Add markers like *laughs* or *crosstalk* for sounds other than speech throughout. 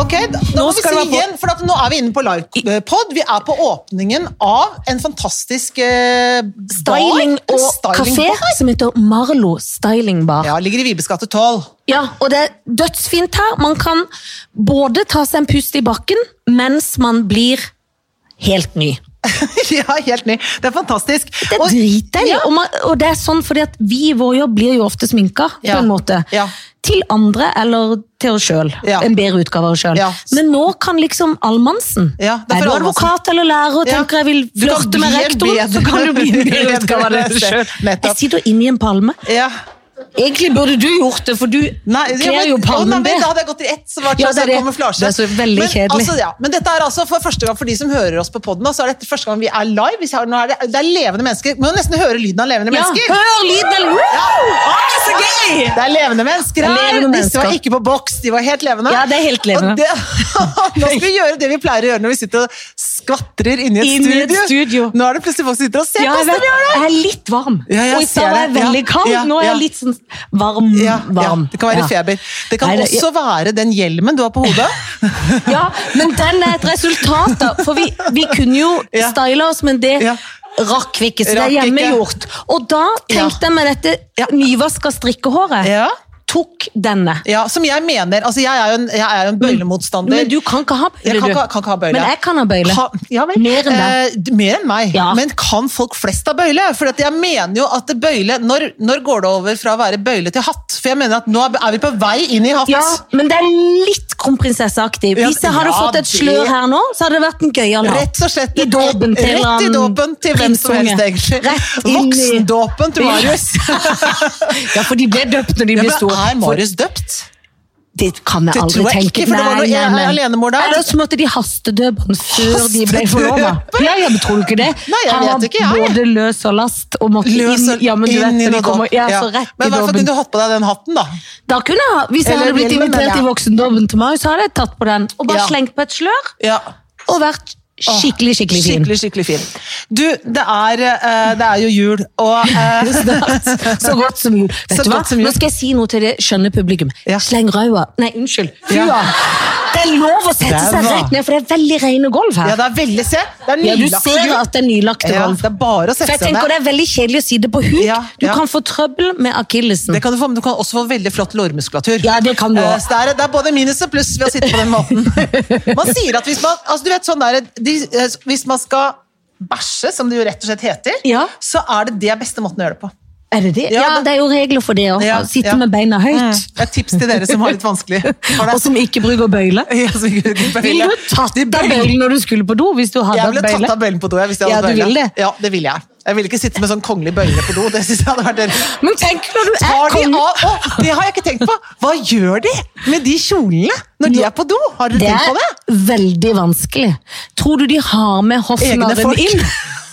Ok, da, da Nå må vi skal si det være på- igjen, for at nå er vi inne på livepod. Vi er på åpningen av en fantastisk eh, Styling bar. og En styling kafé bar. som heter Marlo Styling Bar. Ja, ligger i Vibes gate 12. Ja, og det er dødsfint her. Man kan både ta seg en pust i bakken mens man blir helt ny. *laughs* ja, helt ny. Det er fantastisk. Det er Og- dritdeilig. Ja. Og, man- og det er sånn fordi at vi i vår jobb blir jo ofte sminka, Ja. på en måte. Ja. Til andre eller til oss sjøl. Ja. En bedre utgave av oss sjøl. Ja. Men nå kan liksom allmannsen. Ja, det er er for du allmannsen. advokat eller lærer og Ja. tenker jeg vil Du kan flørte bli med en rektoren, bedre- så kan du bli en *laughs* bedre utgave av deg Bedre selv. sjøl. Nettopp. Jeg sitter inni en palme. Ja. Egentlig burde du gjort det, for du Nei, ja, men- kler jo å, nei, palmen men Da bedre. hadde jeg gått i ett, så var det Ja, sånn det er det. kamuflasje. Det er så veldig men, kjedelig. Altså, ja, men dette er altså for første gang for de som hører oss på podden, så er dette første gang vi er live. Vi har, nå er det, det er levende mennesker. Vi må nesten høre lyden av levende Ja, mennesker. hør lyden! eller- Å, det er så gøy! Det er levende mennesker her! Det er levende Disse var mennesker. ikke på boks, de var helt levende. Ja, det er helt levende. Og det, *laughs* nå skal vi gjøre det vi pleier å gjøre når vi sitter og skvatrer inni et, Inn i et studio. studio. Nå er det plutselig folk som sitter og ser Ja, på jeg, oss når vet, vi gjør det! jeg er litt varm. Ja, jeg og i ser stad var jeg det. Ja, veldig kald. ja, Nå er ja. jeg litt sånn varm. Ja, ja, varm. det kan være Mm, Ja. feber. Det kan Nei, det- også være den hjelmen du har på *laughs* hodet. Ja, men den er et resultat, da. For vi, vi kunne jo *laughs* Ja. style oss, men det Ja. rakk vi ikke, så det Rakk er ikke. hjemmegjort. Og da tenkte jeg med dette Ja. nyvaska strikkehåret Ja. Tok denne. Ja, som jeg mener. Altså, jeg er jo en, jeg er jo en bøylemotstander. Mm. Men du kan ikke ha bøyle, Jeg kan du. ikke, kan ikke ha bøyle. Men jeg kan ha bøyle. Kan- ja, vel. Mer enn deg. Eh, d- mer enn meg. Ja. Men kan folk flest ha bøyle? For at jeg mener jo at bøyle når, når går det over fra å være bøyle til hatt? For jeg mener at nå er vi på vei inn i hatt. Ja, men det er litt kronprinsesseaktig. Ja, Hvis jeg hadde ja, fått et det- slør her nå, så hadde det vært en gøyal hatt. Rett og slett I dåpen til Rett i han dåpen til hvem som helst, prinsunge. egentlig. Rett inn i- Voksendåpen til Marius. *laughs* ja, for de ble døpt når de Ja, ble men store. er For- Marius døpt? Det kan jeg Det aldri tror jeg tenke. ikke, for det var Nei, noe nei, nei. alenemor der. Eller så måtte de hastedøpe han før de ble Hastedøpe? forlova. Ja, ja, men tror du ikke det? Nei, jeg han vet var ikke, jeg. både løs og last og måtte Løs og inn, ja, men du inn vet, i det, noe de kommer, dåp. ja, Ja. så rett Men i hvert fall kunne dåpen. du hatt på deg den hatten, da. Da kunne jeg, ha- Hvis jeg Eller hadde blitt hjelmen, invitert ja. i voksendåpen til meg, så hadde jeg tatt på den og bare Ja. slengt på et slør Ja. og vært skikkelig, skikkelig fin. Skikkelig, skikkelig fin. Du, det er, eh, det er jo jul, og *laughs* eh, Så godt som jul. Vet Så du hva? godt som jul. Nå skal jeg si noe til det skjønne publikum. Ja. Sleng røya Nei, unnskyld. Fua. Ja. Det er lov å sette Der seg var- rett ned, for det er veldig rene gulv Ja, her. det er veldig Se! Det er Ja, du nylagt. ser at det er nylagte Ja, gulv. det er bare å For sette jeg seg ned. tenker det er veldig kjedelig å si det på huk. Ja, Du ja. kan få trøbbel med akillesen. Det kan du få, men du kan også få veldig flott lårmuskulatur. Ja, det kan du Eh, også. Så det er, det er både minus og pluss ved å sitte på den måten. *laughs* Man sier at hvis man altså du vet sånn der, de, eh, Hvis man skal bæsje, som det jo rett og slett heter, Ja. så er det det er beste måten å gjøre det på. Er det det? Ja, Ja, det- det er jo regler for det òg. Ja, Sitte ja. med beina høyt. Det er et tips til dere som har litt *laughs* vanskelig for Og det. som ikke bruker bøyle. *laughs* Ja, så vi kunne ikke Ville bøyle. du tatt av bøylen når du skulle på do? hvis du hadde Jeg ville hatt bøyle? tatt av bøylen på do. Jeg, hvis jeg Ja, hadde du bøyle. ville det. Ja, det ville jeg. Jeg ville ikke sitte med sånn kongelig bøyle på do. Det synes jeg hadde vært en... Men tenk når du er Tar de konge- av Å, det har jeg ikke tenkt på! Hva gjør de med de kjolene når de er på do? Har dere Det tenkt på det? er veldig vanskelig. Tror du de har med Egne hoffnarren folk. *laughs* inn?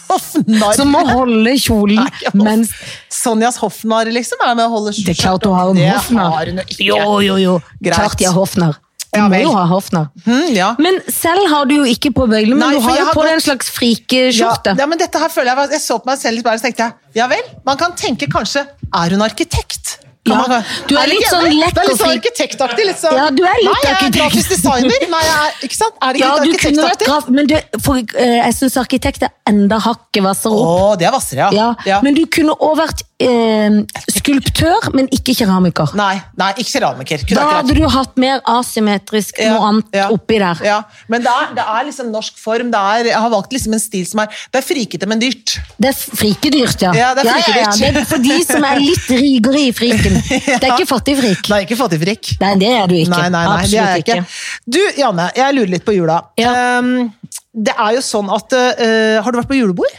Hoffnarr. *laughs* Som må holde kjolen Nei, hoff- mens Sonjas hoffnarr, liksom, er med og holder Det er klart du har en Det hoffnarr. har hun jo ikke. Jo, jo, jo. Greit. Klart jeg har hoffnarr. Du Ja, må vel. jo ha hoffnarr. Hm, ja. Men selv har du jo ikke på bøyle, men Nei, du for har jeg jo har på gått- deg en slags frikeskjorte. Ja, ja, men dette her føler jeg var- Jeg så på meg selv litt bare, så tenkte jeg ja vel, man kan tenke kanskje Er hun arkitekt? Kan Ja, man- du er det litt ikke sånn enig? lett Det er litt og sånn fri- arkitektaktig. Litt sånn, Ja, du er litt Nei, jeg er arkitekt. grafisk designer. Nei, jeg er, ikke sant? Er det ikke Ja, litt du kunne vært arkitektaktig? graf, men du, for, eh, jeg syns arkitekt er enda hakket hvassere opp. Å, det er Vassere, Ja, ja. Men du kunne òg vært eh, skulptør, men ikke keramiker. Nei, nei, ikke keramiker. Kunne Da jeg ikke vært. hadde du hatt mer asymmetrisk Ja, noe annet ja, oppi der. Ja. Men det er, det er liksom norsk form. Det er, jeg har valgt liksom en stil som er Det er frikete, men dyrt. Det er frikedyrt, ja. Ja, det er frikedyrt. Det er for de som er litt rikere *laughs* i friken. Det er ikke fattig frik. Nei, ikke fattigfrikk. Nei, det er du ikke. Nei, nei, nei, det er jeg Absolutt ikke. Du, Janne, jeg lurer litt på jula. Ja. Ehm, det er jo sånn at eh, Har du vært på julebord?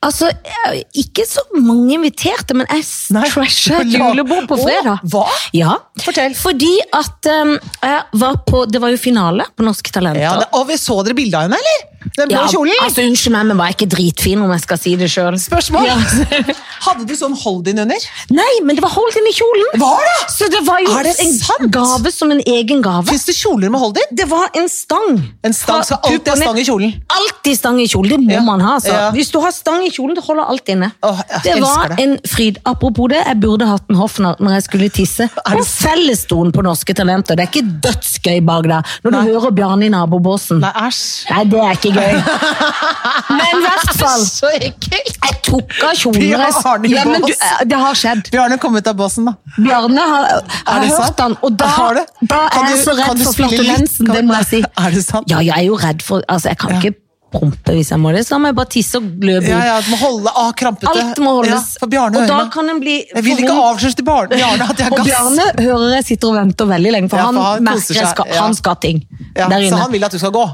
Altså, jeg- ikke så mange inviterte, men jeg s- *laughs* Nei, *laughs* trasha et du la- julebord på Å, fredag. hva? Ja. Fortell. Fordi at um, jeg var på Det var jo finale på Norske Talenter. Ja, det, og vi så dere bilde av henne, eller? Den blå Ja, kjolen! altså Unnskyld meg, men var jeg ikke dritfin, om jeg skal si det sjøl? Spørsmål! Ja. *laughs* Hadde du sånn hold-in under? Nei, men det var hold inn i kjolen! Var det? Så det var jo Er det en sant? gave som en egen gave. Fins det kjoler med hold-in? Det var en stang. En stang Fra skal alltid ha puppene- stang i kjolen. Alltid stang i kjolen, det må Ja. man ha. Altså. Ja. Hvis du har stang i kjolen, det holder alt inne. Åh, jeg det var elsker det. en fryd. Apropos det, jeg burde hatt en hoffnarr når jeg skulle tisse. På fellesstolen på Norske Talenter. Det er ikke dødsgøy bak der, når du hører Bjarne i nabobåsen. Nei, æsj. Nei, det er ikke gøy. *laughs* Men i hvert fall, Så ekkelt! jeg tok av kjolen. Bjarne i jeg- Ja, men du, eh, båsen. det har skjedd. Bjarne kom ut av båsen, da. Bjarne har, har det hørt sant? han, og da, Har du? da Kan er jeg du- så kan redd du for spille litt? flatulensen, Kan- det må jeg si. *laughs* Er det sant? Ja, jeg er jo redd for, altså jeg kan Ja. ikke prompe hvis jeg må det, så da må jeg bare tisse og løpe ut. Ja, ja, du må holde av krampete. Alt må holdes, Ja, for Bjarne og da hører meg. kan en bli Jeg vil ikke for- avsløre til Bar- Bjarne at jeg Og har gass. Bjarne hører jeg sitter og venter veldig lenge, for Ja, for han, han koser merker jeg seg, skal, ja. han skal ting Ja, der så inne. Øh, han vil at du skal gå.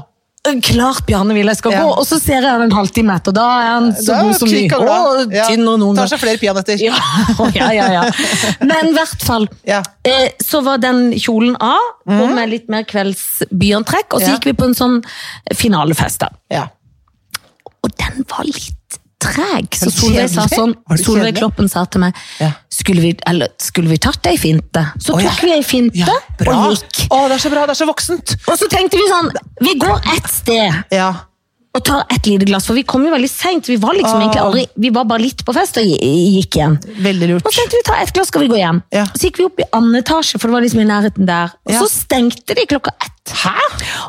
Klart Bjarne vil jeg skal Ja. gå, og så ser jeg han en halvtime etter, da er han så Da god som ny. klikker du av. Og Ja, tynn og noen Tar seg flere peanøtter. Ja, *laughs* ja, ja, ja. Men i hvert fall, Ja. Mm. eh, så var den kjolen av, og med litt mer kveldsbyantrekk, og så Ja. gikk vi på en sånn finalefest da. Ja. Og den var litt treg, så det Solveig sa kjedelig? sånn, Var det Solveig kjedelig? Kloppen sa til meg, Ja. skulle vi, eller, skulle vi tatt ei finte? Så Å, tok ja. vi ei finte, Ja, bra. og gikk. Å, det er så bra, det er så voksent. Og så tenkte vi sånn, vi går et sted, Ja. og tar et lite glass, for vi kom jo veldig sent, vi var liksom Ah. egentlig aldri, vi var bare litt på fest, og gikk igjen. Veldig Og lurt. så tenkte vi ta et glass, skal vi gå hjem. Ja. Så gikk vi opp i annen etasje, for det var liksom i nærheten der. Og Ja. så stengte de klokka ett. Hæ?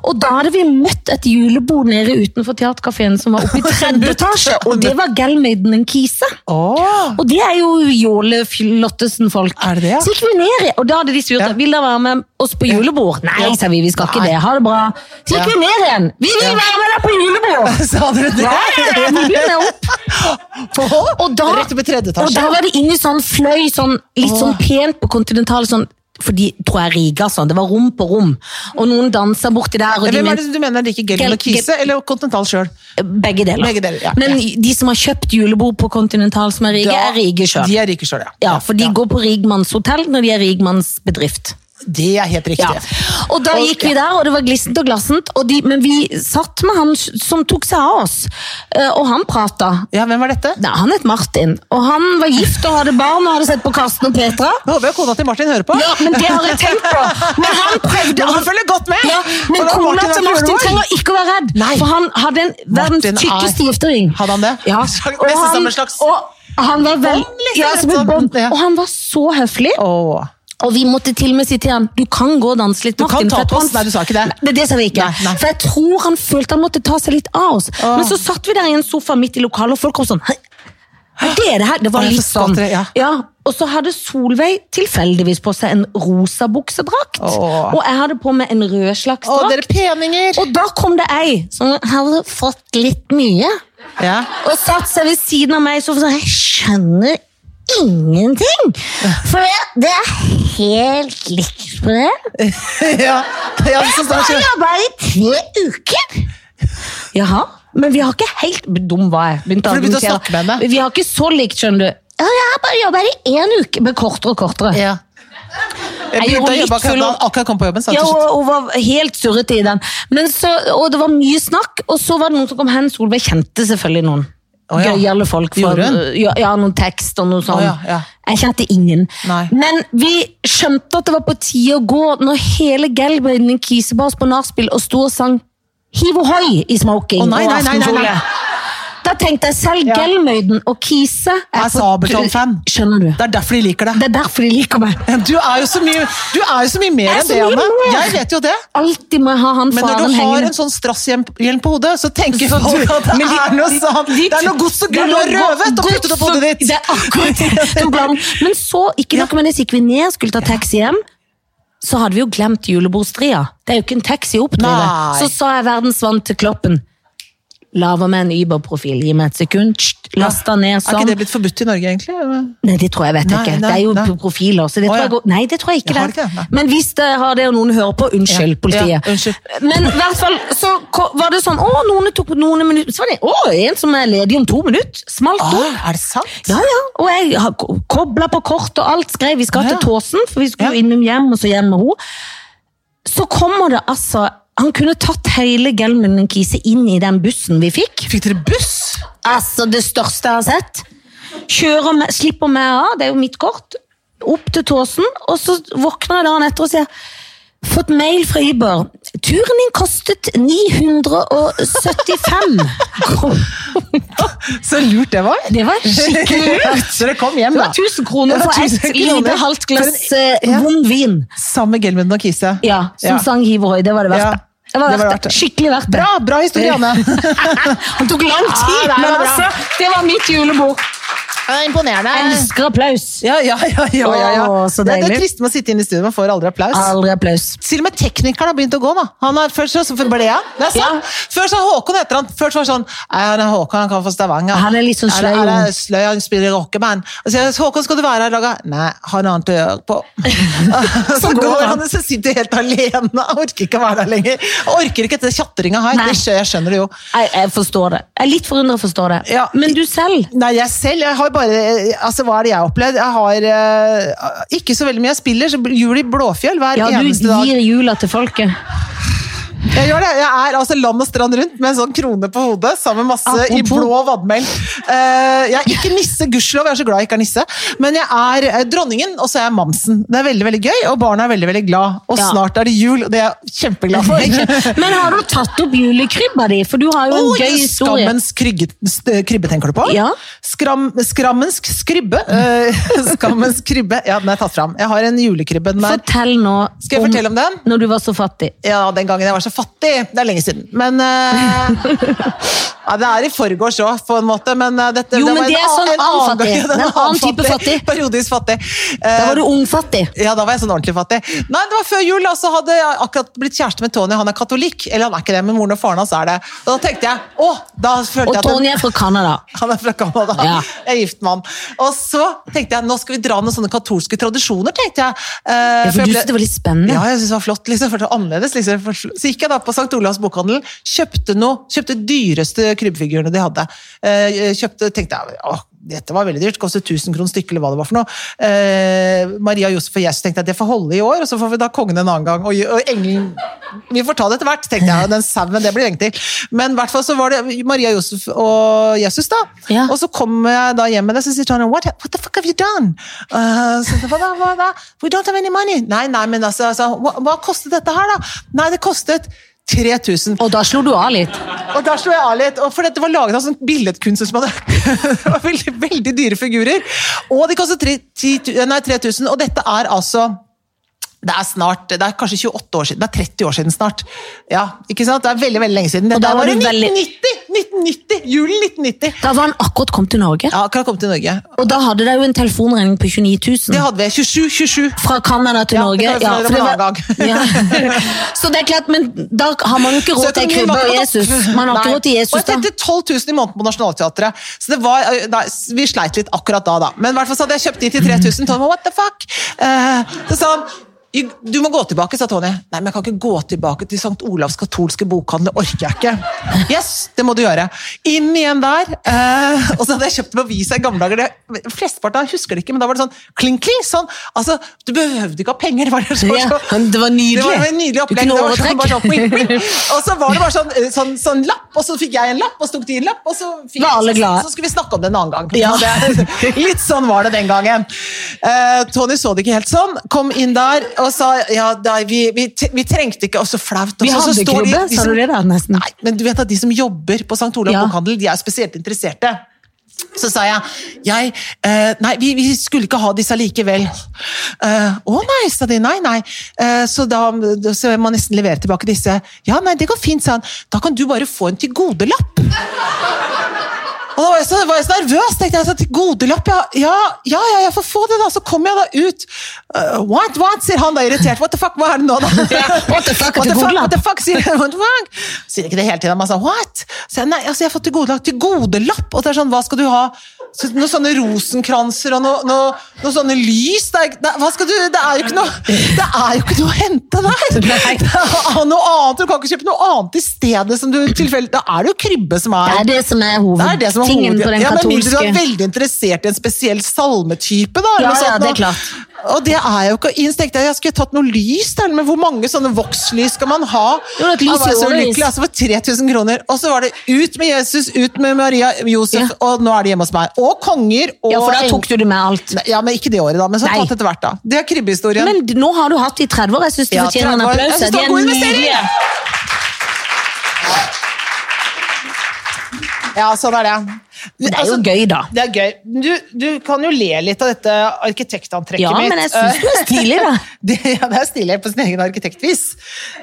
Og da hadde vi møtt et julebord nede utenfor teaterkafeen som var oppe i *laughs* tredje etasje, og det var Gelmeiden en kise. Åh. Og det er jo Jåle Flottesen-folk. Er det det, ja? Så gikk vi ned, i- og da hadde de spurt Ja. vil dere være med oss på julebord. Nei, Ja. sa vi, vi skal ikke Nei. det. Ha det bra. Så gikk Ja. vi ned igjen. Vi vil Ja. være med deg på *laughs* julebord! *laughs* Sa dere det? Ja, ja, ja, vi begynner opp. På? Og da, Rett opp i tredje Og etasje. da var det inne i sånn fløy, sånn, litt sånn pent på kontinentale, sånn, for de tror jeg riga sånn. Det var rom på rom. Og noen dansa borti der, og de Hvem er mente det du mener er like gøy Gel- med Kise eller Continental sjøl? begge deler. Begge deler, ja. Men de som har kjøpt julebord på kontinental som er rige, Ja, er rige sjøl. De er rike sjøl, ja. Ja, for de går på rigmannshotell når de er rigmannsbedrift. Det er helt riktig. Ja. Og da Og- gikk vi der, og det var glissent og glassent, og de, men vi satt med han som tok seg av oss, eh, og han prata. Ja, hvem var dette? Nei, han het Martin, og han var gift og hadde barn og hadde sett på Karsten og Petra. Jeg håper jeg kona til Martin hører på. Ja, men det har jeg tenkt på. Men han prøvde Nå må han- du følge godt med. Ja, men Hvordan kona Martin til er på Martin julebord? trenger ikke å være redd, Nei. for han hadde en verdens Martin er- tykkeste giftering. Hadde han det? Ja. Nesten som en slags- og han var vel, Bånd, liksom, ja, som sånn, et bånd. ja. Og han var så høflig, Åh. og vi måtte til og med si til han Du kan gå og danse litt, Du kan Martin. ta for jeg på tror oss. han- Nei, du sa ikke det. Nei, det sa vi ikke. Nei, nei. For jeg tror han følte han måtte ta seg litt av oss. Åh. Men så satt vi der i en sofa midt i lokalet, og folk kom sånn Hæ? Hva er det det her? Det var Åh, jeg litt forstår sånn. det, ja. Og så hadde Solveig tilfeldigvis på seg en rosa buksedrakt. Åh. Og jeg hadde på meg en rød slags Å, drakt. dere peninger! Og da kom det ei som hadde fått litt mye, Ja. *laughs* og satt seg ved siden av meg så sånn, jeg skjønner ingenting. For det- det er helt likt på det. ja. ja så Jeg har snart, jobba i tre uker. Jaha, men vi har ikke helt Dum var jeg. Begynte For du begynte å argumentere. snakke med henne. Vi har ikke så likt, skjønner du. Ja, jeg har bare jobba i én uke. Men kortere og kortere. ja. Jeg Jeg begynte gjorde å litt jobbe akkurat da full- han akkurat kom på jobben. sa han Ja, til og slutt. hun var helt surrete i den. Men så, og det var mye snakk, og så var det noen som kom hen. Solveig kjente selvfølgelig noen. Å, ja. Gøyale folk. fra- Gjorde hun? ja, ja, noen tekst og noe sånt. Å, ja, ja. Jeg kjente ingen. Nei. Men vi skjønte at det var på tide å gå når hele Gelbøyden kisebars på nachspiel og sto og sang Hiv ohoi i smoking Å, nei, og nei, nei, nei, aftenkjole. nei. Da tenkte jeg selv Ja. Gelmøyden og Kise Jeg er Sabeltann-fan. Skjønner du? Det er derfor de liker Det deg. er derfor de liker meg. Du er jo så mye, du er jo så mye mer Jeg enn er så det, mye Anne. mer. Jeg vet jo det. Alltid må jeg ha han Men faen når du har hengende. en sånn strasshjelm på hodet, så tenker Så folk du- at sånn det men de- er noe de- sånn de- Det er noe gods og det er gull du har noe røvet og gods puttet opp hodet ditt! og- Det er akkurat *laughs* det. En blanding. Men så, ikke nok med det, så gikk vi ned, skulle ta taxi hjem. Så hadde vi jo glemt julebordstria. Det er jo ikke en taxi å oppdrive. Nei. Så sa jeg verdensvant til Kloppen. Lager meg en Uber-profil, gi meg et sekund. sht, Lasta ned Er ikke det sånn. blitt forbudt i Norge, egentlig? Nei, det tror jeg vet jeg Nei, ikke. nei, Det er jo nei. profiler, så Å, det tror ja. jeg går Nei, det tror jeg ikke. Jeg har det. ikke det, nei. Men hvis det har det, og noen hører på, unnskyld, Ja, politiet. ja, unnskyld. Men i hvert fall så ko- var det sånn Å, noen tok noen minutter Så var det Å, en som er ledig om to minutter. Smalt Å, opp. er det sant? Ja, ja. Og jeg har ko- koblet på kort og alt. Skrev vi skal Ja. til Tåsen, for vi skulle Ja. jo innom hjem, og så hjem med henne. Så kommer det altså Han kunne tatt hele Gelmunden Kise inn i den bussen vi fikk. Fikk dere buss? Altså, det største jeg har sett. Kjører meg, slipper meg av, det er jo mitt kort, opp til Tåsen, og så våkner jeg dagen etter og sier Fått mail fra Uber. Turen din kostet *laughs* 975 kroner. Så lurt det var. Det var skikkelig lurt. Så dere kom hjem, Det da. var 1000 kroner Det var for 1000 et kroner. lite halvt glass For en- eh, ja. vond vin. Sammen med Gelmund og Kise. Ja, som sang Hiv Ohoi. Det var det verdt. Ja, det. Det var det var verdt verdt det. det. Skikkelig verdt det. Bra, bra historie, Anne. *laughs* Han tok lang Ja, tid, det er men bra. altså, det var mitt julebord. Imponerende. Jeg elsker applaus. Ja, ja, ja. ja, ja, ja. Å, så det, det deilig. er trist med å sitte inne i studio, man får aldri applaus. Aldri applaus. Til og med teknikeren har begynt å gå, da. Han har først så så ble han. Det er sant. Før så Håkon heter han. Først var det sånn «Nei, han er Håkon, han kommer fra Stavanger. Han er litt sånn sløy, Han han. er sløy, han spiller i rockeband. Og så sier jeg, Håkon, skal du være her i dag? da?» Nei, har noe annet å gjøre *laughs* på. så, Så Sånn går går han. han, og så sitter jeg helt alene. Jeg orker ikke å være der lenger. Jeg orker ikke etter tjatteringa her. Nei. Det skjø- jeg skjønner det jo. Jeg, jeg forstår det. Jeg er litt forundret forstår det. Ja. Men du selv? Nei, jeg selv, jeg har bare Altså, hva er det jeg har opplevd? Jeg har eh, ikke så veldig mye jeg spiller. Så jul i Blåfjell hver Ja, du eneste dag. gir jula til folket. Jeg gjør det. Jeg er altså land og strand rundt med en sånn krone på hodet, sammen med masse i Apropos. blå vadmel. Eh, jeg er ikke nisse, gudskjelov, jeg er så glad jeg ikke er nisse. Men jeg er eh, dronningen, og så er jeg mamsen. Det er veldig veldig gøy, og barna er veldig veldig glad. Og Ja. snart er det jul, og det er jeg kjempeglad for. Men har du tatt opp julekrybba di? For du har jo en Oi, gøy historie. Skammens krygge, st- krybbe, tenker du på? Ja. Skram, skrammens krybbe. eh, *laughs* skammens krybbe. Ja, den er tatt fram. Jeg har en julekrybbe. Den er Fortell nå Skal jeg fortelle om den? når du var så fattig. Ja, den gangen jeg var så fattig. Det er lenge siden. Men eh, *laughs* ja, Det er i forgårs òg, på en måte. Men eh, dette, Jo, det men var det er an- sånn annen gang. *laughs* fattig. Ja, det er Det er en annen type fattig. Periodisk fattig. Da Eh, var du ungfattig. ja, da var jeg sånn ordentlig fattig. Nei, det var før jul, da, så hadde jeg akkurat blitt kjæreste med Tony. Han er katolikk. Eller han er ikke det, men moren og faren hans er det. Og da tenkte jeg, å, da følte Og jeg at Tony er fra Canada. han er fra Canada. Ja. Jeg er gift med han. Og så tenkte jeg nå skal vi dra noen sånne katolske tradisjoner, tenkte jeg. Eh, Ja, for for jeg du ble- synes det var litt spennende. Ja, jeg synes det var flott. liksom, for det var annerledes. Liksom. For- Så gikk jeg da på St. Olavs bokhandel, kjøpte noe, kjøpte dyreste krybbefigurene de hadde. Eh, kjøpte, tenkte jeg, åh, dette var veldig dyrt, kostet 1000 kroner stykket, eller hva det var for noe. Eh, Maria, Josef og Jesus tenkte jeg, det får holde i år, og så får vi da kongen en annen gang. Og, og engelen, vi får ta det etter hvert, tenkte jeg, og den sauen, det blir lenge til. Men i hvert fall så var det Maria, Josef og Jesus da, Ja. og så kommer jeg da hjem med det, så sier Tony, what, what the fuck have you done? Eh, så, hva da, hva da? We don't have any money. Nei, nei, men altså, altså hva, hva kostet dette her da? Nei, det kostet 3000. Og da slo du av litt. Og der slo jeg av litt, og for dette var laget av sånn billedkunstner som hadde *laughs* det var veldig, veldig dyre figurer. Og de kostet tre- ti tu- nei, 3000, og dette er altså det er snart, det er kanskje 28 år siden, det er 30 år siden snart. Ja, ikke sant? Det er veldig, veldig lenge siden. Og Dette da var var i du veldig- 1990, 1990, julen 1990. Da var han akkurat kommet til Norge. Ja, akkurat kommet til Norge. Og da hadde dere jo en telefonregning på 29 000. Det hadde vi. 27, 27. Fra Canada til Ja, det Norge. kan vi få høre om en annen *laughs* ja. Så det er klart, men da har man jo ikke råd til krybbe og Jesus. Man har ikke råd til Jesus, Og da. jeg tjente 12 000 i måneden på Nationaltheatret. Så det var, eh, nei, vi sleit litt akkurat da, da. Men i hvert fall så hadde jeg kjøpt de til 3000. Tony, what the fuck? Eh, så sa han «You- du må gå tilbake, sa Tony. Nei, men jeg kan ikke gå tilbake til St. Olavs katolske bokhandel. Det orker jeg ikke. Yes, det må du gjøre. Inn igjen der. Eh, og så hadde jeg kjøpt dem på Visa i gamle dager. Det, flesteparten av husker det ikke, men da var det sånn kling, kling. Sånn. Altså, du behøvde ikke ha penger. Var det, så, Ja, men det var nydelig. Det var en nydelig Du opplegg. Det kunne var sånn, overtrekk. bare sånn, Wink, *laughs* wink. Og så var det bare sånn, eh, sånn, sånn lapp, og så fikk jeg en lapp, og så tok de en lapp, og så, fikk, Var alle så, glade. så skulle vi snakke om *laughs* det en annen gang. Ja. Det, litt sånn var det den gangen. Eh, Tony så det ikke helt sånn, kom inn der og sa ja, nei, vi, vi, t- vi trengte ikke, og så flaut. Og Vi altså, så, så hadde står de- krybbe, de sa som- du det da, nesten? Nei, men du vet at de som jobber på St. Olav Ja. bokhandel, de er spesielt interesserte. Så sa jeg, jeg eh, Nei, vi, vi skulle ikke ha disse likevel. Eh, Å nei, sa de. Nei, nei. Eh, så da så jeg må nesten levere tilbake disse. Ja, nei, det går fint, sa han. Da kan du bare få en tilgodelapp. Og da var jeg så, var jeg så nervøs. tenkte jeg, så Tilgodelapp, ja. Ja, ja, ja, jeg får få det, da. Så kommer jeg da ut. Eh, what, what, sier han da irritert. What the fuck, hva er det nå, da? *laughs* What the fuck, what the fuck, tilgodelapp. what the fuck, sier *laughs* jeg. What the fuck? Sier ikke det hele tiden. Man sa what? Så jeg, nei, altså, jeg har fått tilgodelapp. Tilgodelapp? Og det er sånn, hva skal du ha? Så, noen sånne rosenkranser og noe, noe, noe sånne lys. Det er, ikke- det, er- hva skal du, det er jo ikke noe, det er jo ikke noe å hente der. Nei. Det er noe annet, du kan ikke kjøpe noe annet i stedet som du tilfeldig Da er det jo krybbe som Det er er det som det er er hovedsaken. det som er Altså, tingen på den ja, men mindre du er katolske. veldig interessert i en spesiell salmetype, da. eller Ja, noe ja, sånt, det er da. klart. Og det er jo ikke Inn tenkte jeg jeg skulle tatt noe lys, der, men hvor mange sånne vokslys skal man ha? Jo, et lys Han var jo i så årevis. ulykkelig, altså for 3000 kroner. Og så var det ut med Jesus, ut med Maria, Josef, Ja. og nå er de hjemme hos meg. Og konger, og Ja, for da tok du det med alt. Nei, Ja, men ikke det året, da. Men så Nei. tatt etter hvert, da. Det er krybbehistorien. Men d- nå har du hatt de 30 år. Jeg syns du Ja, fortjener en 30 år. Jeg applaus. synes det De var er god investering. nydelige. Ja, sånn er det. Altså, Det er jo gøy, da. Det er gøy. Du, du kan jo le litt av dette arkitektantrekket Ja, mitt. men jeg syns du er stilig, *laughs* da. Det, ja, det er stilig på sin egen arkitektvis.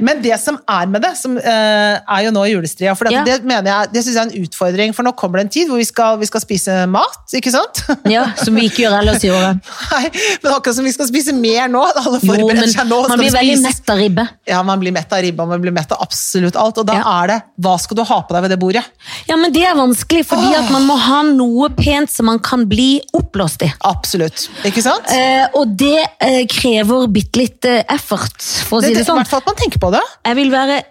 Men det som er med det, som eh, er jo nå i julestria For det, Ja. det mener jeg, det syns jeg er en utfordring, for nå kommer det en tid hvor vi skal, vi skal spise mat, ikke sant? Ja, Som vi ikke gjør ellers i året. *laughs* Nei, men akkurat som vi skal spise mer nå. Alle Jo, men forbereder seg nå. man skal blir det veldig spises. mett av ribbe. Ja, man blir mett av ribba, man blir mett av absolutt alt. Og da Ja. er det hva skal du ha på deg ved det bordet? Ja, men det er vanskelig, fordi at man må ha noe pent som man kan bli oppblåst i. Absolutt. Ikke sant? Eh, og det eh, krever bitte litt eh, effort, for å si det, det det, I sånn. hvert fall at man tenker på det. Jeg vil være,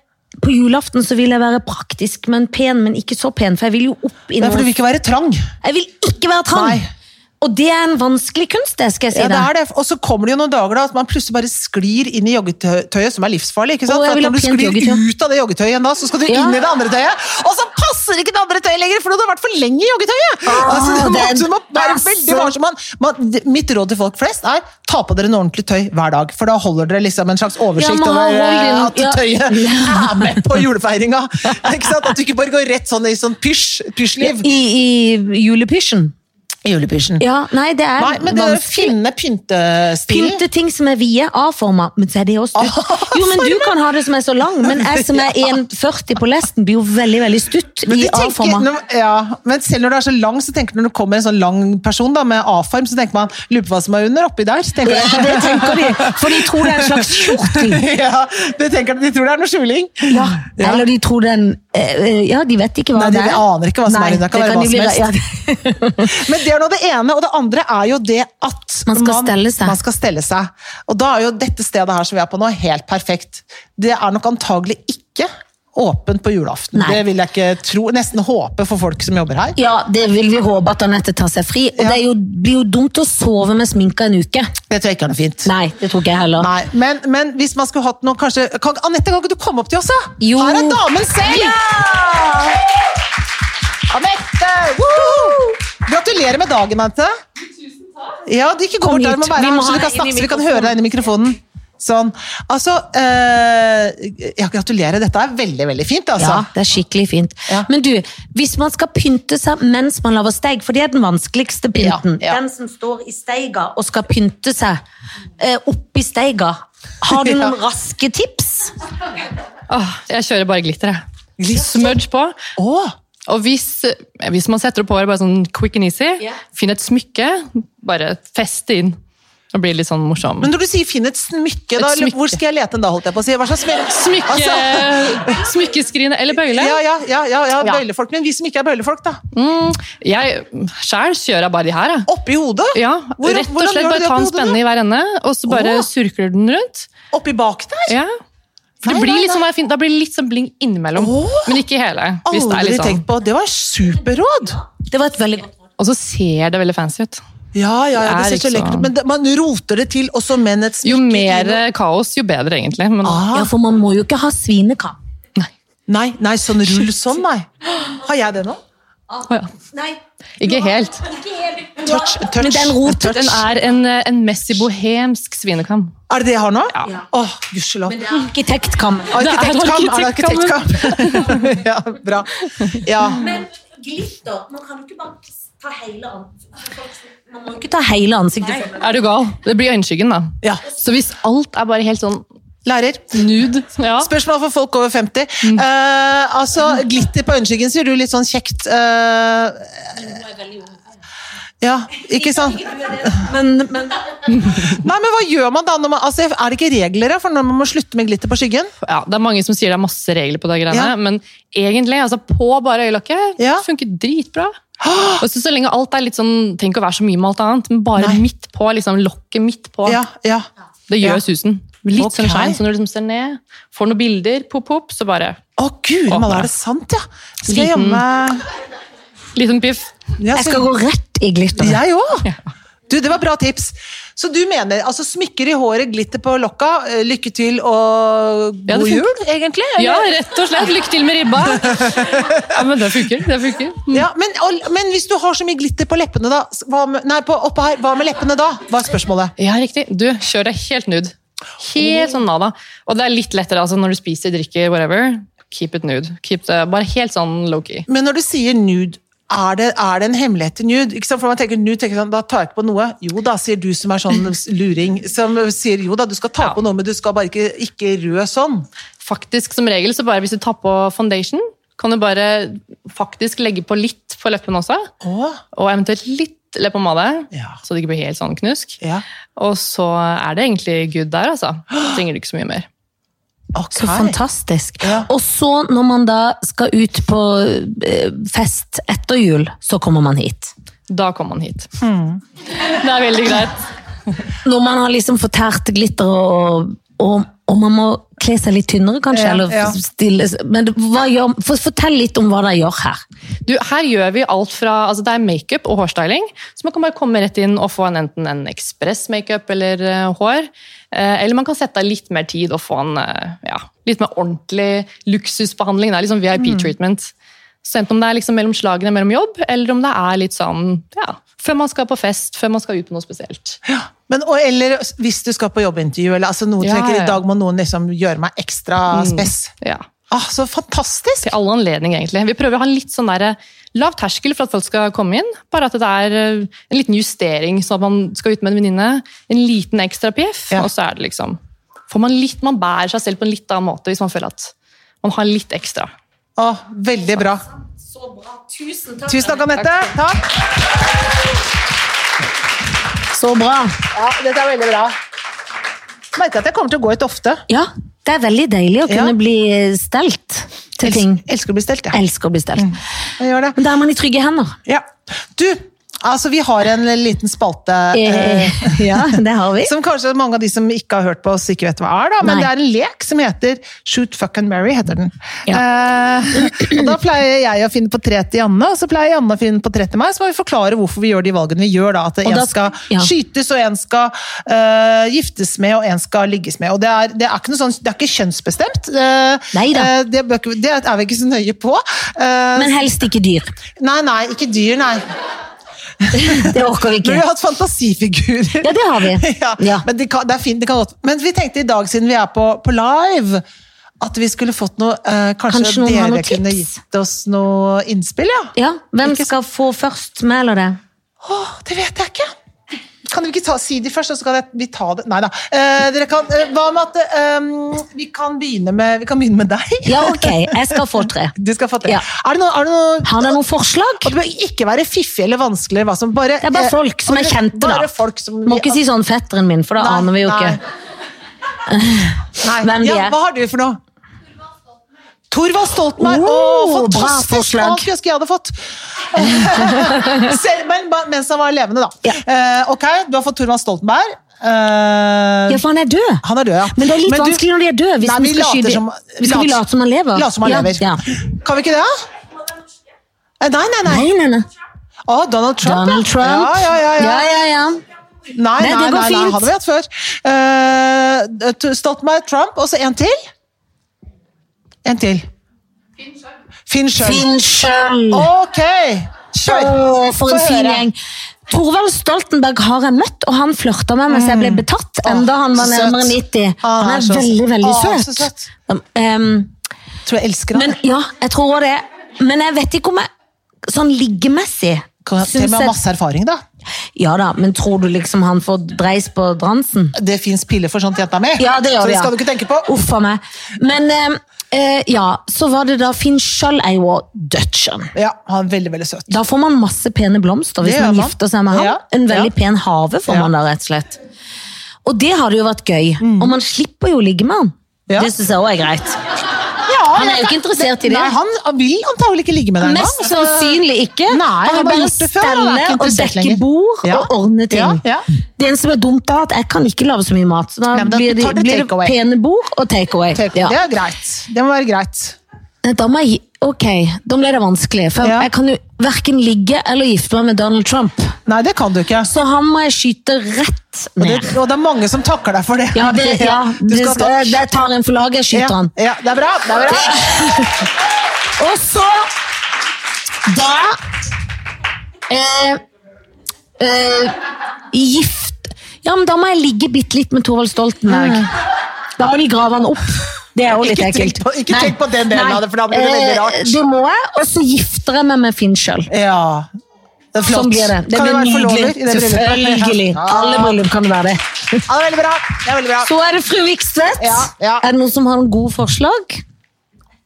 på julaften så vil jeg være praktisk, men pen, men ikke så pen, for jeg vil jo opp i Det er for du noe. vil ikke være trang. Jeg vil ikke være trang! Nei. Og det er en vanskelig kunst, det skal jeg si Ja, det deg. er det. Og så kommer det jo noen dager da, at man plutselig bare sklir inn i joggetøyet, som er livsfarlig. ikke sant? Å, jeg For vil at når ha du pent sklir joggetøy. ut av det joggetøyet igjen da, så skal du Ja. inn i det andre tøyet, og så passer ikke det andre tøyet lenger, for du har vært for lenge i joggetøyet! Ah, altså, du, må, den- du må være altså. veldig varsom. Man, man, mitt råd til folk flest er ta på dere noe ordentlig tøy hver dag, for da holder dere liksom en slags Ja, oversikt over man eh, holder- at ja. tøyet er med på julefeiringa. *laughs* ikke sant? At du ikke bare går rett sånn i sånn pysj, pysjliv. I, i julepysjen. Julepysjen. Ja, nei, det er Nei, men det er å vanskelig. finne pyntestilen. Pynte ting som er vide, A-forma, men så er det også *laughs* stutt. Jo, men du kan ha det som er så lang, men jeg som er 1,40 på lesten blir jo veldig, veldig stutt Men, i de tenker, A-forma. når- ja, men selv når du er så lang, så tenker du når det kommer en sånn lang person da, med A-form, så tenker man lurer på hva som er under oppi der. Så tenker Ja, du. *laughs* det tenker de, for de tror det er en slags kjortel. ja, de, tenker, de tror det er noe skjuling. Ja, eller de tror den eh, eh, Ja, de vet ikke hva Nei, de det er. aner ikke hva som er i den. Det kan være hva de som bli- ja. Men det er nå det ene, og det andre er jo det at Man skal stelle seg. man skal stelle seg. Og da er jo dette stedet her som vi er på nå, helt perfekt. Det er nok antagelig ikke åpent på julaften. Nei. Det vil jeg ikke tro, nesten håpe for folk som jobber her. ja, det vil vi håpe at Anette tar seg fri. Og Ja. det er jo, blir jo dumt å sove med sminka en uke. Det tror jeg ikke er noe fint. Nei, det tror ikke jeg heller. Nei, men, men hvis man skulle hatt noe kanskje, kan, Anette, kan ikke du komme opp til oss, da? Jo. Her er damen selv! Anette! woo! Gratulerer med dagen, Anette. Tusen takk. Ja, du ikke gå Kom bort der, du må hit. være Vi her, må så ha vi kan deg inn snakke, så vi i kan mikrofonen. høre deg inn i mikrofonen. Sånn. Altså, eh, ja, gratulerer. Dette er veldig, veldig fint, altså. Ja, det er skikkelig fint. Ja. Men du, hvis man skal pynte seg mens man lager steig, for det er den vanskeligste pynten. Ja, ja. Den som står i steiga og skal pynte seg eh, oppi steiga. Har *laughs* du noen Ja. raske tips? Åh, Ah, jeg kjører bare glitter, jeg. Smudge på. Å, Og hvis, eh, hvis man setter det på håret bare sånn quick and easy, Ja. finn et smykke, bare feste inn. Og bli litt sånn morsom. men når du sier 'finn et smykke', da, Et smykke. hvor skal jeg lete den da, holdt jeg på å si? Hva slags smykke? Smykke, Altså, Smykkeskrin eller bøyle. ja, ja, ja, ja, ja, Ja. bøylefolk. Men vi som ikke er bøylefolk, da. Jeg sjæl kjører jeg bare de her. Jeg. Oppi hodet? Ja, Hvor- rett og hvordan gjør slett du bare det ta oppi en hodet, spenne i hver ende, og så bare Åh. surkler du den rundt. da? Oppi bak der? Ja. For Nei, det blir nei, litt nei. sånn, det er fint, da blir det litt sånn bling innimellom, Åh. men ikke hele. Hvis det er Aldri litt sånn. tenkt på. Det var superråd! Det var et veldig godt Og så ser det veldig fancy ut. Ja, ja, ja, Det er det ser så ikke lekkert ut. sånn. Men det, man roter det til, og så menn et Jo smykke mer inn og- eh, kaos, jo bedre egentlig. Men, Ah, Ja, for man må jo ikke ha svinekam. Nei, nei, sånn rull sånn, nei. Har jeg det nå? Å ja. Nei, Ikke helt. Touch, touch. Men den roter. Den er en, eh, en messy bohemsk svinekam. Er det det jeg har nå? Ja. Åh, gudskjelov. arkitektkam. Arkitektkamp, er det arkitektkamp? *laughs* ja, bra. Ja. Men glitter, man kan jo ikke bare ta hele ansiktet. Man må jo ikke ta hele ansiktet. Er du gal? Det blir øyenskyggen, da. ja. Så hvis alt er bare helt sånn Lærer. *laughs* nude ja. Spørsmål for folk over 50. Mm. Eh, altså, glitter på øyenskyggen sier du litt sånn kjekt eh, Ja, ikke sant? Men, men Nei, men hva gjør man da? Når man, altså, er det ikke regler da, for når man må slutte med glitter på skyggen? ja, Det er mange som sier det er masse regler på de greiene, Ja. men egentlig, altså på bare øyelokket, Ja. funker *gasps* dritbra. Og så, så lenge alt er litt sånn Tenk å være så mye med alt annet, men bare Nei. midt på. liksom Lokket midt på. Ja, ja. Det gjør Ja. susen. Litt Ok. sånn shine, så når du liksom ser ned, får noen bilder, pop, pop, så bare Å, gud, Åpner. man, er det sant, ja? Skal jeg Liten- hjemme Liten sånn piff. Ja, Jeg så- skal gå rett i glitter. Jeg òg! Du, det var bra tips. Så du mener altså smykker i håret, glitter på lokka, eh, lykke til og Ja, det god funker. jul, egentlig? eller? Ja, rett og slett. Lykke til *laughs* med ribba. Ja, men det funker. Det funker. Ja, men, og, men hvis du har så mye glitter på leppene, da s- hva med, Nei, på, oppe her, hva med leppene da? Var spørsmålet. Ja, riktig. Du, kjør deg helt nude. Helt sånn nada. Og det er litt lettere altså, når du spiser, drikker, whatever. Keep it nude. Keep det bare helt sånn low-key. Men når du sier nude, er det, er det en hemmelighet til nude? Ikke sant? For man tenker nude, tenker sånn, da tar jeg ikke på noe. Jo da, sier du som er sånn *laughs* luring. Som sier jo da, du skal ta Ja. på noe, men du skal bare ikke, ikke rød sånn. Faktisk, som regel, så bare hvis du tar på foundation, kan du bare faktisk legge på litt på leppene også. Å, Og eventuelt litt leppepomade, Ja. så det ikke blir helt sånn knusk. ja. Og så er det egentlig good der, altså. Så trenger du ikke så mye mer. Ok. Så fantastisk. Ja. Og så når man da skal ut på eh, fest etter jul, så kommer man hit. Da kommer man hit. Hmm. Det er veldig greit. Når man har liksom fortært glitter og, og, og man må kle seg litt tynnere kanskje, Ja, eller ja. stille Men hva gjør, for, fortell litt om hva dere gjør her. Du, her gjør vi alt fra altså Det er makeup og hårstyling. Så man kan bare komme rett inn og få en, enten en ekspress-makeup eller eh, hår. Eh, eller man kan sette av litt mer tid og få en eh, ja, litt mer ordentlig luksusbehandling. Det er liksom VIP-treatment. Så Enten om det er liksom mellom slagene mellom jobb, eller om det er litt sånn ja, før man skal på fest, før man skal ut på noe spesielt. Men, og, eller hvis du skal på jobbintervju, eller altså, noen Ja, tenker ja. i dag må noen liksom gjøre meg ekstra spess. Ja. Ah, så fantastisk! Til alle anledninger, egentlig. Vi prøver å ha en litt sånn der, lav terskel for at folk skal komme inn. Bare at det er eh, en liten justering, sånn at man skal ut med en venninne. En liten ekstra piff, Ja. og så er det liksom får man, litt, man bærer seg selv på en litt annen måte hvis man føler at man har litt ekstra. Ah, veldig bra. Så bra. Tusen takk. Tusen takk, Anette. Takk. Så bra. Ja, dette er veldig bra. Merker at jeg kommer til å gå ut ofte. Ja, det er veldig deilig å Ja. kunne bli stelt til ting. Elsker å bli stelt, jeg. Elsker å bli Mm. stelt. jeg gjør det. Men da er man i trygge hender. Ja. Du, altså vi har en liten spalte eh, Eh, *laughs* ja, det har vi. som kanskje mange av de som ikke har hørt på oss, ikke vet hva er, da. Men Nei. det er en lek som heter Shoot fuck and marry, heter den. Eh, og da pleier jeg å finne på tre til Janne, og så pleier Janne å finne på tre til meg. Så må vi forklare hvorfor vi gjør de valgene vi gjør, da. At en da skal- skal ja. skytes, og en skal eh, giftes med, og en skal ligges med. Og det er, det er ikke noe sånn, det er ikke kjønnsbestemt. Eh, Neida. eh, det, bør ikke- det er vi ikke så nøye på. Eh, Men helst ikke dyr. nei, nei, ikke dyr, nei. Det orker Men vi vi ikke. har hatt fantasifigurer. Ja, det har vi. *laughs* ja, Ja. Men det kan, det er fint, det kan godt. Men vi tenkte i dag, siden vi er på, på live, at vi skulle fått noe eh, Kanskje, Kanskje noen har dere noen tips? kunne gitt oss noe innspill, ja? Ja, hvem skal få først, meg eller det? Åh, det vet jeg ikke. Kan dere ikke ta, si de først, og så kan jeg, vi ta det Nei da. Eh, dere kan, eh, hva med at eh, vi, kan begynne med, vi kan begynne med deg? *laughs* Ja, ok, jeg skal få tre. Du skal få til. Ja. Er det noe, er det noe Har dere noen forslag? og det bør ikke være fiffig eller vanskelig. eller Hva som, bare, Det er bare eh, folk som er kjente, da. Bare folk som Må ikke si sånn fetteren min, for da Nei, aner vi jo nei. ikke. Nei. *laughs* hvem de ja, er. Hva har du for noe? Torvald Stoltenberg! Åh, Oh, bra fantastisk! forslag. Alt jeg skulle jeg hadde fått. *laughs* Selv, men ba- mens han var levende, da. Ja. Eh, ok, du har fått Torvald Stoltenberg. Eh, Ja, for han er død. han er død, ja. Men det er litt du- vanskelig når de er døde. Hvis Nei, vi vi skal later skyte- som- vi skal vi lat- late som han lever? Late som han Ja, lever. ja. Kan vi ikke det? Eh, Nei, nei, nei. Nei, nei, nei. Å, Donald Trump. Donald ja. Trump. Ja, ja, ja. ja, ja, ja. Nei, Nei, nei, det nei, går nei, fint. han har vi hatt før. Uh, Stoltenberg, Trump, og så en til. En til. Finn Schjøll. Finn sjøl! Ok! Kjør. Åh, for Få en fin høre. gjeng. Torvald Stoltenberg har jeg møtt, og han flørta med meg så jeg ble betatt. Enda han var Mm. så nærmere søt. 90. Ah, Han er så søt. veldig, veldig Ah, så søt. Um, Tror jeg elsker han. Men ja, jeg tror også det. Men jeg vet ikke om jeg Sånn liggemessig Kan- Til og med har masse erfaring, da. Ja da, men tror du liksom han får dreis på dransen? Det fins piller for sånt, jenta mi. Ja, det så gjør det det, skal du ikke tenke på. Uff a meg. Men eh, eh, ja, så var det da Finn sjøl er jo dutchen. Ja, han er veldig, veldig søt. Da får man masse pene blomster hvis Det gjør man man. gifter seg med ham. Ja, En veldig ja. pen have Ja. får Mm. man da, rett og slett. Og det hadde jo vært gøy. Og man slipper jo å ligge med han. Ja. Det syns jeg òg er greit. Ja, Han er jo ikke interessert i det. Nei, han vil antagelig ikke ligge med deg Mest engang. sannsynlig ikke. Altså, Nei, han han har bare gjort det før, han er ikke steller og interessert dekker lenger. bord Ja. og ordner ting. Ja, ja. Det eneste som er dumt, da, er at jeg kan ikke lage så mye mat. Så da Nei, men da blir det, tar du blir det takeaway. pene bord og takeaway. Tenk- Ja. Det er greit. Det må være greit. Da må jeg gi- Ok, da ble det vanskelig. For Ja. jeg kan jo verken ligge eller gifte meg med Donald Trump. Nei, det kan du ikke. Så han må jeg skyte rett Og det, ned. og det er mange som takker deg for det. Ja, det, ja, Du det, skal ta- skal- det tar en for laget, jeg skyter han. Ja, ja, det er bra. Det er bra. Og så Da eh, eh, Gift Ja, men da må jeg ligge bitte litt med Thorvald Stoltenberg. Da må de grave han opp. Det er jo litt Mm. Ikke ekkelt. tenk på- ikke Nei. tenk på den delen Nei. av det, for da blir det veldig rart. Eh, det må jeg, og så gifter jeg meg med Finn sjøl. Ja. Det er flott. Sånn blir det. Det Kan blir være forlover nydelig. i det bryllupet? Selvfølgelig. Ja. Alle bryllup kan det være det. Ja, det er veldig bra. Det er veldig bra. Så er det fru Vikstvedt. Ja, ja. Er det noen som har noen gode forslag?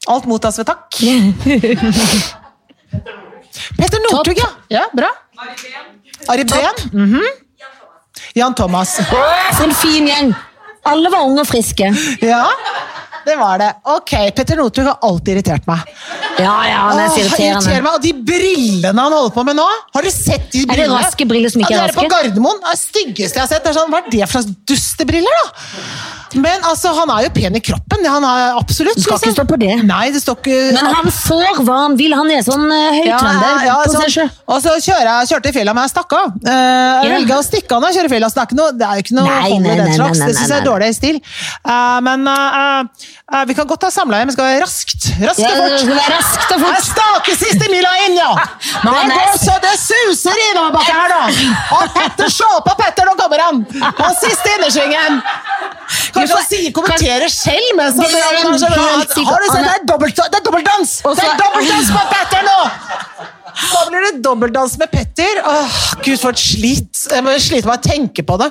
Alt mottas ved takk. Petter Northug, ja. ja. Bra. Ari Behn. Mhm. Jan Thomas. For en fin gjeng. Alle var unge og friske. Ja, det var det. Ok, Petter Northug har alltid irritert meg. Ja, ja, han er Åh, så irriterende. irriterer meg. Og de brillene han holder på med nå, har du sett de det brillene? raske briller som ikke ja, er det er på Gardermoen. Det er det styggeste jeg har sett. Det er sånn, hva er det for slags dustebriller, da? Men altså, han er jo pen i kroppen. det Han er absolutt. skal synes ikke jeg. stå på det. Nei, det står ikke... Men han får hva han vil. Han er sånn uh, Ja, høytrønder ja, på sånn. seg sjøl. Og så kjører jeg, kjørte jeg fjellet, men jeg stakk av. Eh, jeg Ja. velger å stikke av når jeg kjører fjellet. så Det er ikke noe, det er jo ikke noe Nei, hold i nei, den nei, slags. nei, Det nei, synes jeg er nei. dårlig stil. Eh, men eh, eh, vi kan godt ha samla hjem, men skal være raskt. Raskt Ja, og det fort. skal være raskt og Jeg fort. staker siste mila inn, ja! Det Men han er- går så det suser innover bak her, da! Og Petter, se på Petter, nå kommer han! På siste innersvingen! Vi Kanskje får- han sier, kommenterer selv mens han Det er Har du sett, helt sikkert- det er dobbelt- det er dobbeltdans! Og så- Det er dobbeltdans på Petter nå! Da blir det dobbeltdans med Petter. Åh, Gud, for et slit. Jeg må slite med å tenke på det.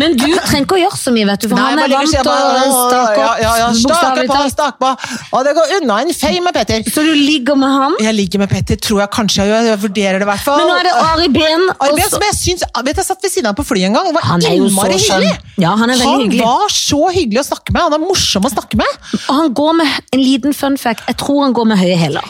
Men du trenger ikke å gjøre så mye, vet du, for Nei, han jeg er bare vant ligger til og å sier bare, stake ja, ja, ja, opp, Stake bokstavelig på, talt. stake på. Og det går unna en fei med Petter. Så du ligger med han. Jeg ligger med Petter, tror jeg kanskje jeg gjør. Jeg vurderer det i hvert fall. Men nå er det Ari Behn. og Arbeid så- som jeg syns Vet du, jeg satt ved siden av ham på flyet en gang. Det var Han er jo så innmari skjønn. hyggelig! Ja, han er veldig hyggelig. var så hyggelig å snakke med. Han er morsom å snakke med. Og han går med en liten fun fact. Jeg tror han går med høye hæler.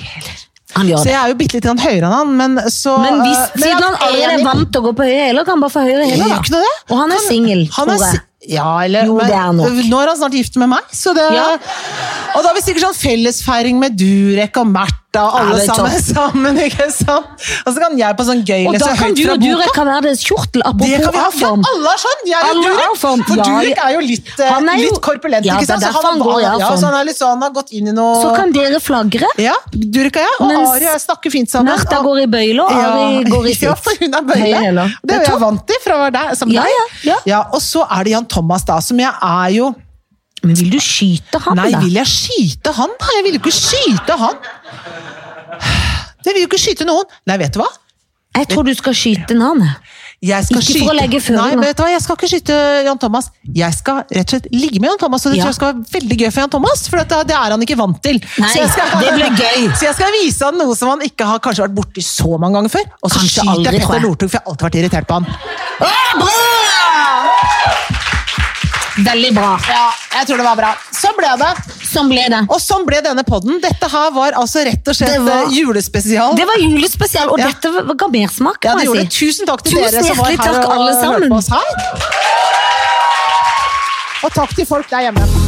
Han gjør Så det. jeg er jo bitte litt grann høyere enn han, men så Men hvis eh, men siden han jeg er enig. vant til å gå på høye hæler, kan han bare få høyere Jeg hæler. gjør ikke da. noe det. Og han er singel, han er tror jeg. si- Ja, eller, eh, Jo, det er han nok. Nå er han snart gift med meg, så det Ja. Og da har vi sikkert sånn fellesfeiring med Durek og Märtha og alle det er sammen, topp. *laughs* sammen, ikke sant? Og så kan jeg på sånn gøy Og lese da kan høyt du fra og boka. Durek ha hver deres kjortel, Det kan vi ha. apropos Ja, avform. alle er sånn! Jeg er Alle Durek. har form. For Ja, Durek ja. er jo litt, eh, Han er jo- litt korpulent, Ja, ikke det er sant? derfor han går i ja, avform. så han er litt sånn, han har gått inn i Så noe kan dere flagre. Ja, Durek og jeg, og Mens Ari og jeg snakker fint sammen. Märtha og- går i bøyle, *laughs* og Ari går i sitt. Ja, for hun er Høye bøyle. hæler. Det Det er jo er jeg topp. vant til fra å være der, som Ja, deg. ja, ja. og så er det Jan Thomas, da, som jeg er jo Men vil du skyte han, Nei, da? vil jeg skyte han, da? Jeg vil jo ikke skyte han! Jeg vil jo ikke skyte noen. Nei, vet du hva? Jeg tror du skal skyte en annen. Jeg skal Ikke skyte. for å legge Nei, føringer. men vet du hva? Jeg skal ikke skyte Jan Thomas. Jeg skal rett og slett ligge med Jan Thomas, og det Ja. tror jeg skal være veldig gøy for Jan Thomas. For at det er han ikke vant til. Nei, så, jeg skal, det blir gøy. *laughs* så jeg skal vise han noe som han ikke har kanskje vært borti så mange ganger før. Og så Kanskje skyter aldri, jeg tror jeg. Petter Northug, for jeg har alltid vært irritert på han. Veldig bra. Ja, jeg tror det var bra. Sånn ble det. Sånn ble det. Og sånn ble denne podden. Dette her var altså rett og slett Det var- eh, julespesial. Det var julespesial, og Ja. dette var- ga mersmak, ja, kan det gjorde jeg det. si. Tusen takk til Tusen dere som var hjertelig her takk, og alle sammen. hørte på oss her. Og takk til folk der hjemme.